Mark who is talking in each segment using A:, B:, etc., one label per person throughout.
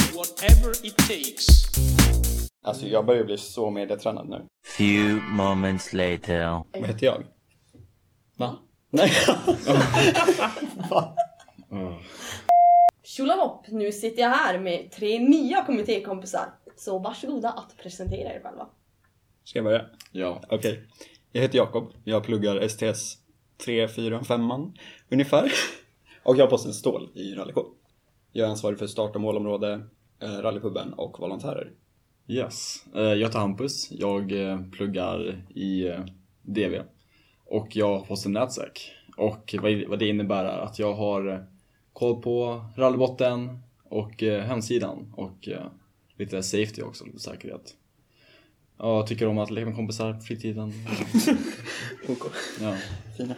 A: whatever it takes.
B: Alltså jag börjar bli så mediatränad nu.
C: Few moments later.
B: Vad heter jag? Va? Nej. Va?
D: Tjolahopp, nu sitter jag här med tre nya kommittékompisar. Så varsågoda att presentera er själva.
B: Ska jag börja?
E: Ja.
B: Okej. Jag heter Jakob. Jag pluggar STS 3, 4, 5 man ungefär. Och jag har posten stål i rallykår. Jag är ansvarig för start och målområde, eh, rallypubben och volontärer.
E: Yes. Eh, Jag heter Hampus. Jag eh, pluggar i eh, DV. Och jag har posten nätsäck. Och vad vad det innebär är att jag har eh, koll på rallybotten och eh, hemsidan och eh, lite safety också, lite säkerhet. Ja, jag tycker om att
B: liksom
E: leka med kompisar på fritiden.
B: OK.
E: Ja,
B: Fina.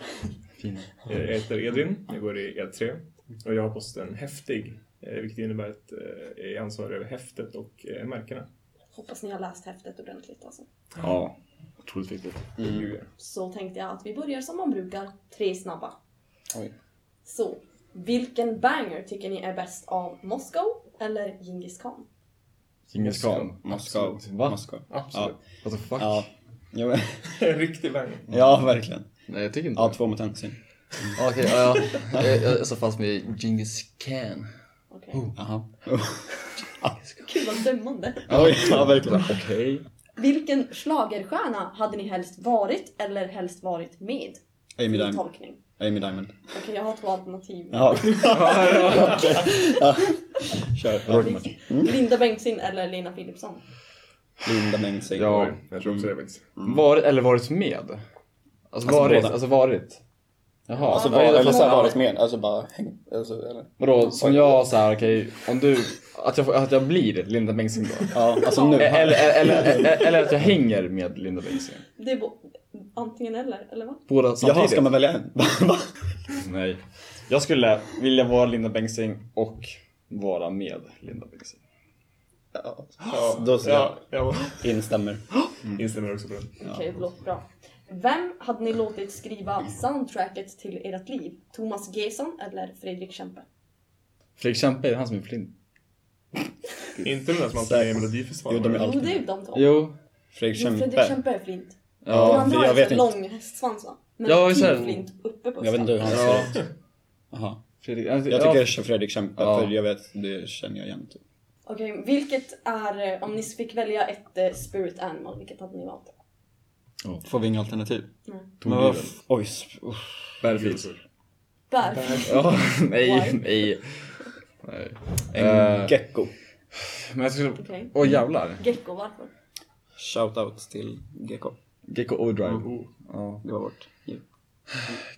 E: fina.
F: Jag heter Edvin, jag går i E3 och jag har posten Häftig, eh, vilket innebär att eh, jag är ansvarig över häftet och eh, märkena.
D: Hoppas ni har läst häftet ordentligt alltså.
E: Ja, otroligt viktigt.
D: Så tänkte jag att vi börjar som man brukar, tre snabba.
B: Oj.
D: Så, vilken banger tycker ni är bäst av Moskau eller Djingis Khan?
E: Djingis khan.
B: Moskau.
E: Absolut. Va?
B: Moskau.
F: Absolut.
E: What the fuck?
B: Ja. Ja, men-
F: En riktig banger.
B: ja, verkligen.
E: Nej, jag tycker inte
B: Ja, två mot en. synd.
E: Ja, Okej, ja, ja. Jag- jag sa fast med Genghis Khan.
D: Okej.
B: Jaha.
D: Kul vad dömande.
B: Oj, ja verkligen.
E: Okej.
D: Vilken schlagerstjärna hade ni helst varit eller helst varit med?
B: Amy
D: Min
B: Diamond.
D: tolkning.
B: Amy Diamond.
D: Okej, jag har två alternativ.
B: Jaha. Okej. Ja. Kör.
D: Linda Bengtzing eller Lena Philipsson?
B: Linda Mm. Bengtzing.
E: Ja.
F: Jag tror också det faktiskt.
E: Varit eller varit med? Mm. Alltså varit,
B: båda.
E: alltså varit. Jaha,
B: Alltså,
E: alltså,
B: var, eller så här,
D: var-
B: varit med. Alltså bara häng. Alltså, eller.
E: vadå som jag såhär okej, om du, att jag, får- att jag blir Linda Bengtzing då?
B: Ja, alltså nu.
E: Eh, Eller, eller, eller, eller att jag hänger med Linda Bengtzing?
D: Det är bo- antingen eller, eller vad?
E: Båda samtidigt?
B: Jaha, ska man välja en? Va?
E: Nej. Jag skulle vilja vara Linda Bengtzing och vara med Linda Bengtzing.
B: Ja, då Mm. så.
F: Ja, jag
B: Instämmer.
F: instämmer också på det.
D: Okej, det låter bra. Vem hade ni låtit skriva soundtracket till ert liv? Thomas Gesson eller Fredrik Kempe?
E: Fredrik Kempe, är det han som är flint?
F: Inte med den som alltid är med i Melodifestivalen.
B: Jo, de är
D: Jo,
B: alltid-
D: det är ju de två.
E: Jo.
B: Fredrik
D: Men Fredrik
B: Kempe.
D: Kempe är flint.
E: Ja,
D: Men han har
B: jag
D: ju
B: vet
D: en lång hästsvans va? Men
E: Ja,
D: ja,
E: så här-
D: flint uppe på
B: Jag vet inte hur han
D: hästen.
B: ser ut. Jaha.
E: Fredrik,
B: Jag tycker Fredrik Kempe,
E: Ja.
B: för jag vet, det känner jag igen. Typ.
D: Okej, vilket är, eh, om ni fick välja ett eh, spirit animal, vilket hade ni valt?
B: Får vi inga alternativ?
D: Nej.
B: Men vad f- Oj, s- uff.
E: Bergflis.
D: Bär.
E: Ja, nej,
D: Why?
E: nej. nej.
B: en
E: Eh,
B: gecko.
E: Men jag skulle...
D: Okej.
E: Åh jävlar.
D: Gecko, varför?
B: Shoutout till gecko.
E: Gecko Overdrive.
F: Oh,
E: Ja,
B: Det var vårt.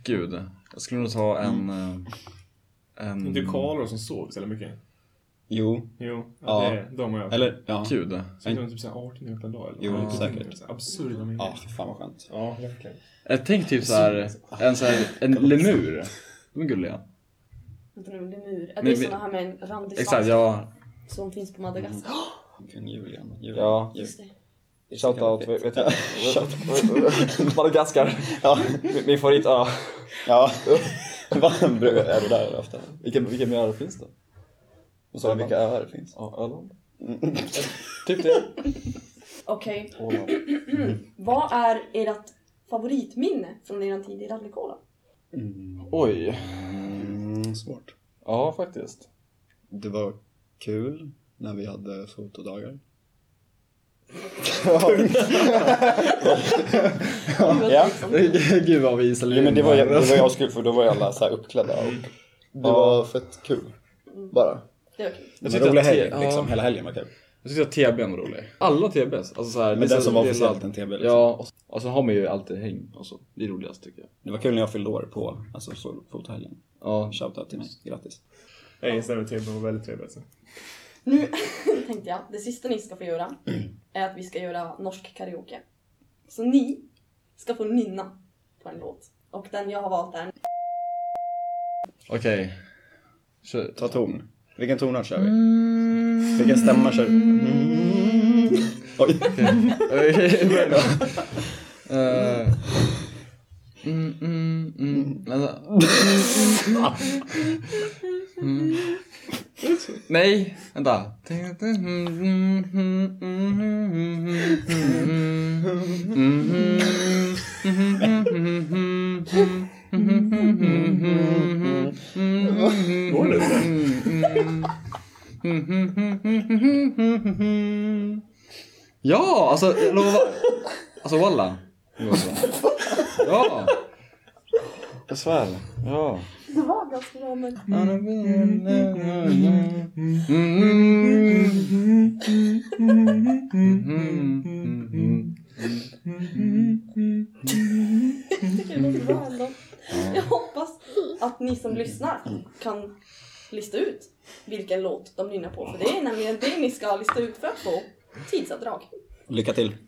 E: gud. Jag skulle nog ta
D: Mm.
E: en... eh, En...
F: Inte
B: Mm.
F: Karl som sov så jävla mycket.
B: Jo,
F: Jo,
B: Ja.
F: ja. det är de har jag.
B: eller ja.
E: Gud.
F: Så det var typ såhär 18 timmar per dag eller
B: Jo,
F: något.
B: säkert.
F: Så här Absurda mängder.
B: Ja, för fan vad skönt.
F: Ja, verkligen.
E: Jag tänkte typ såhär, en sån här, en lemur. De är gulliga.
D: Vänta nu, lemur. Är
E: Nej,
D: det
E: vi-
D: såna här med en randig svans
E: Exakt, ja.
D: som finns på Madagaskar?
B: Kung Julian. Julian.
E: Ja.
B: Jul.
D: Just det.
C: Shoutout, vet vet jag.
B: Shout-
C: Madagaskar.
B: Ja.
C: Min min favoritö.
B: Ja. Vad är det där ofta?
C: Vilka, vilka mer öar finns det?
B: Och så vilka öar det finns.
C: Ja, Öland?
E: Mm.
C: Typ det.
D: Okej,
C: Åland.
D: vad är ert favoritminne från er tid i rallykola?
C: Oj.
B: Mm, svårt.
C: Ja, faktiskt.
B: Det var kul när vi hade fotodagar.
D: Ja.
E: Gud vad vi
B: Ja,
E: är
B: men det var, jag- det var jag skulle, för då var ju alla så här uppklädda och det var fett kul. Bara.
D: Det var kul.
E: Jag
B: Det var
E: tyckte
B: rolig
E: att te-
B: helg, liksom.
E: ja.
B: Hela helgen var kul.
E: Jag tyckte att TB'n var rolig. Alla TBs. Alltså såhär,
B: Men den som var
E: delad.
B: officiellt en TB. Liksom.
E: Ja, och så, och så har man ju alltid häng och så. Det är roligast tycker jag.
B: Det var kul när jag fyllde år på alltså, så- fotohelgen.
E: Ja,
B: Shoutout till mig, grattis.
F: Jag instämmer till det var väldigt trevligt. Alltså.
D: Nu tänkte jag, det sista ni ska få göra är att vi ska göra norsk karaoke. Så ni ska få nynna på en låt. Och den jag har valt är
E: okej. Kör.
B: Ta ton. Vilken tonart kör vi? Vilken stämma kör vi? Mm. Oj.
E: Eh, Mm, mm, mm. Vänta. Mm. Nej, vänta.
F: Går det inte?
E: Ja, alltså jag lovar. Alltså walla. Det var så. Ja. Jag svär. Ja.
D: Det var ganska bra men...
E: Mm, mm, mm.
D: Jag tycker det låter bra ändå. Jag hoppas att ni som lyssnar kan lista ut vilken låt de nynnar på. För det är nämligen det ni ska lista ut för att få tidsaddrag.
B: Lycka till.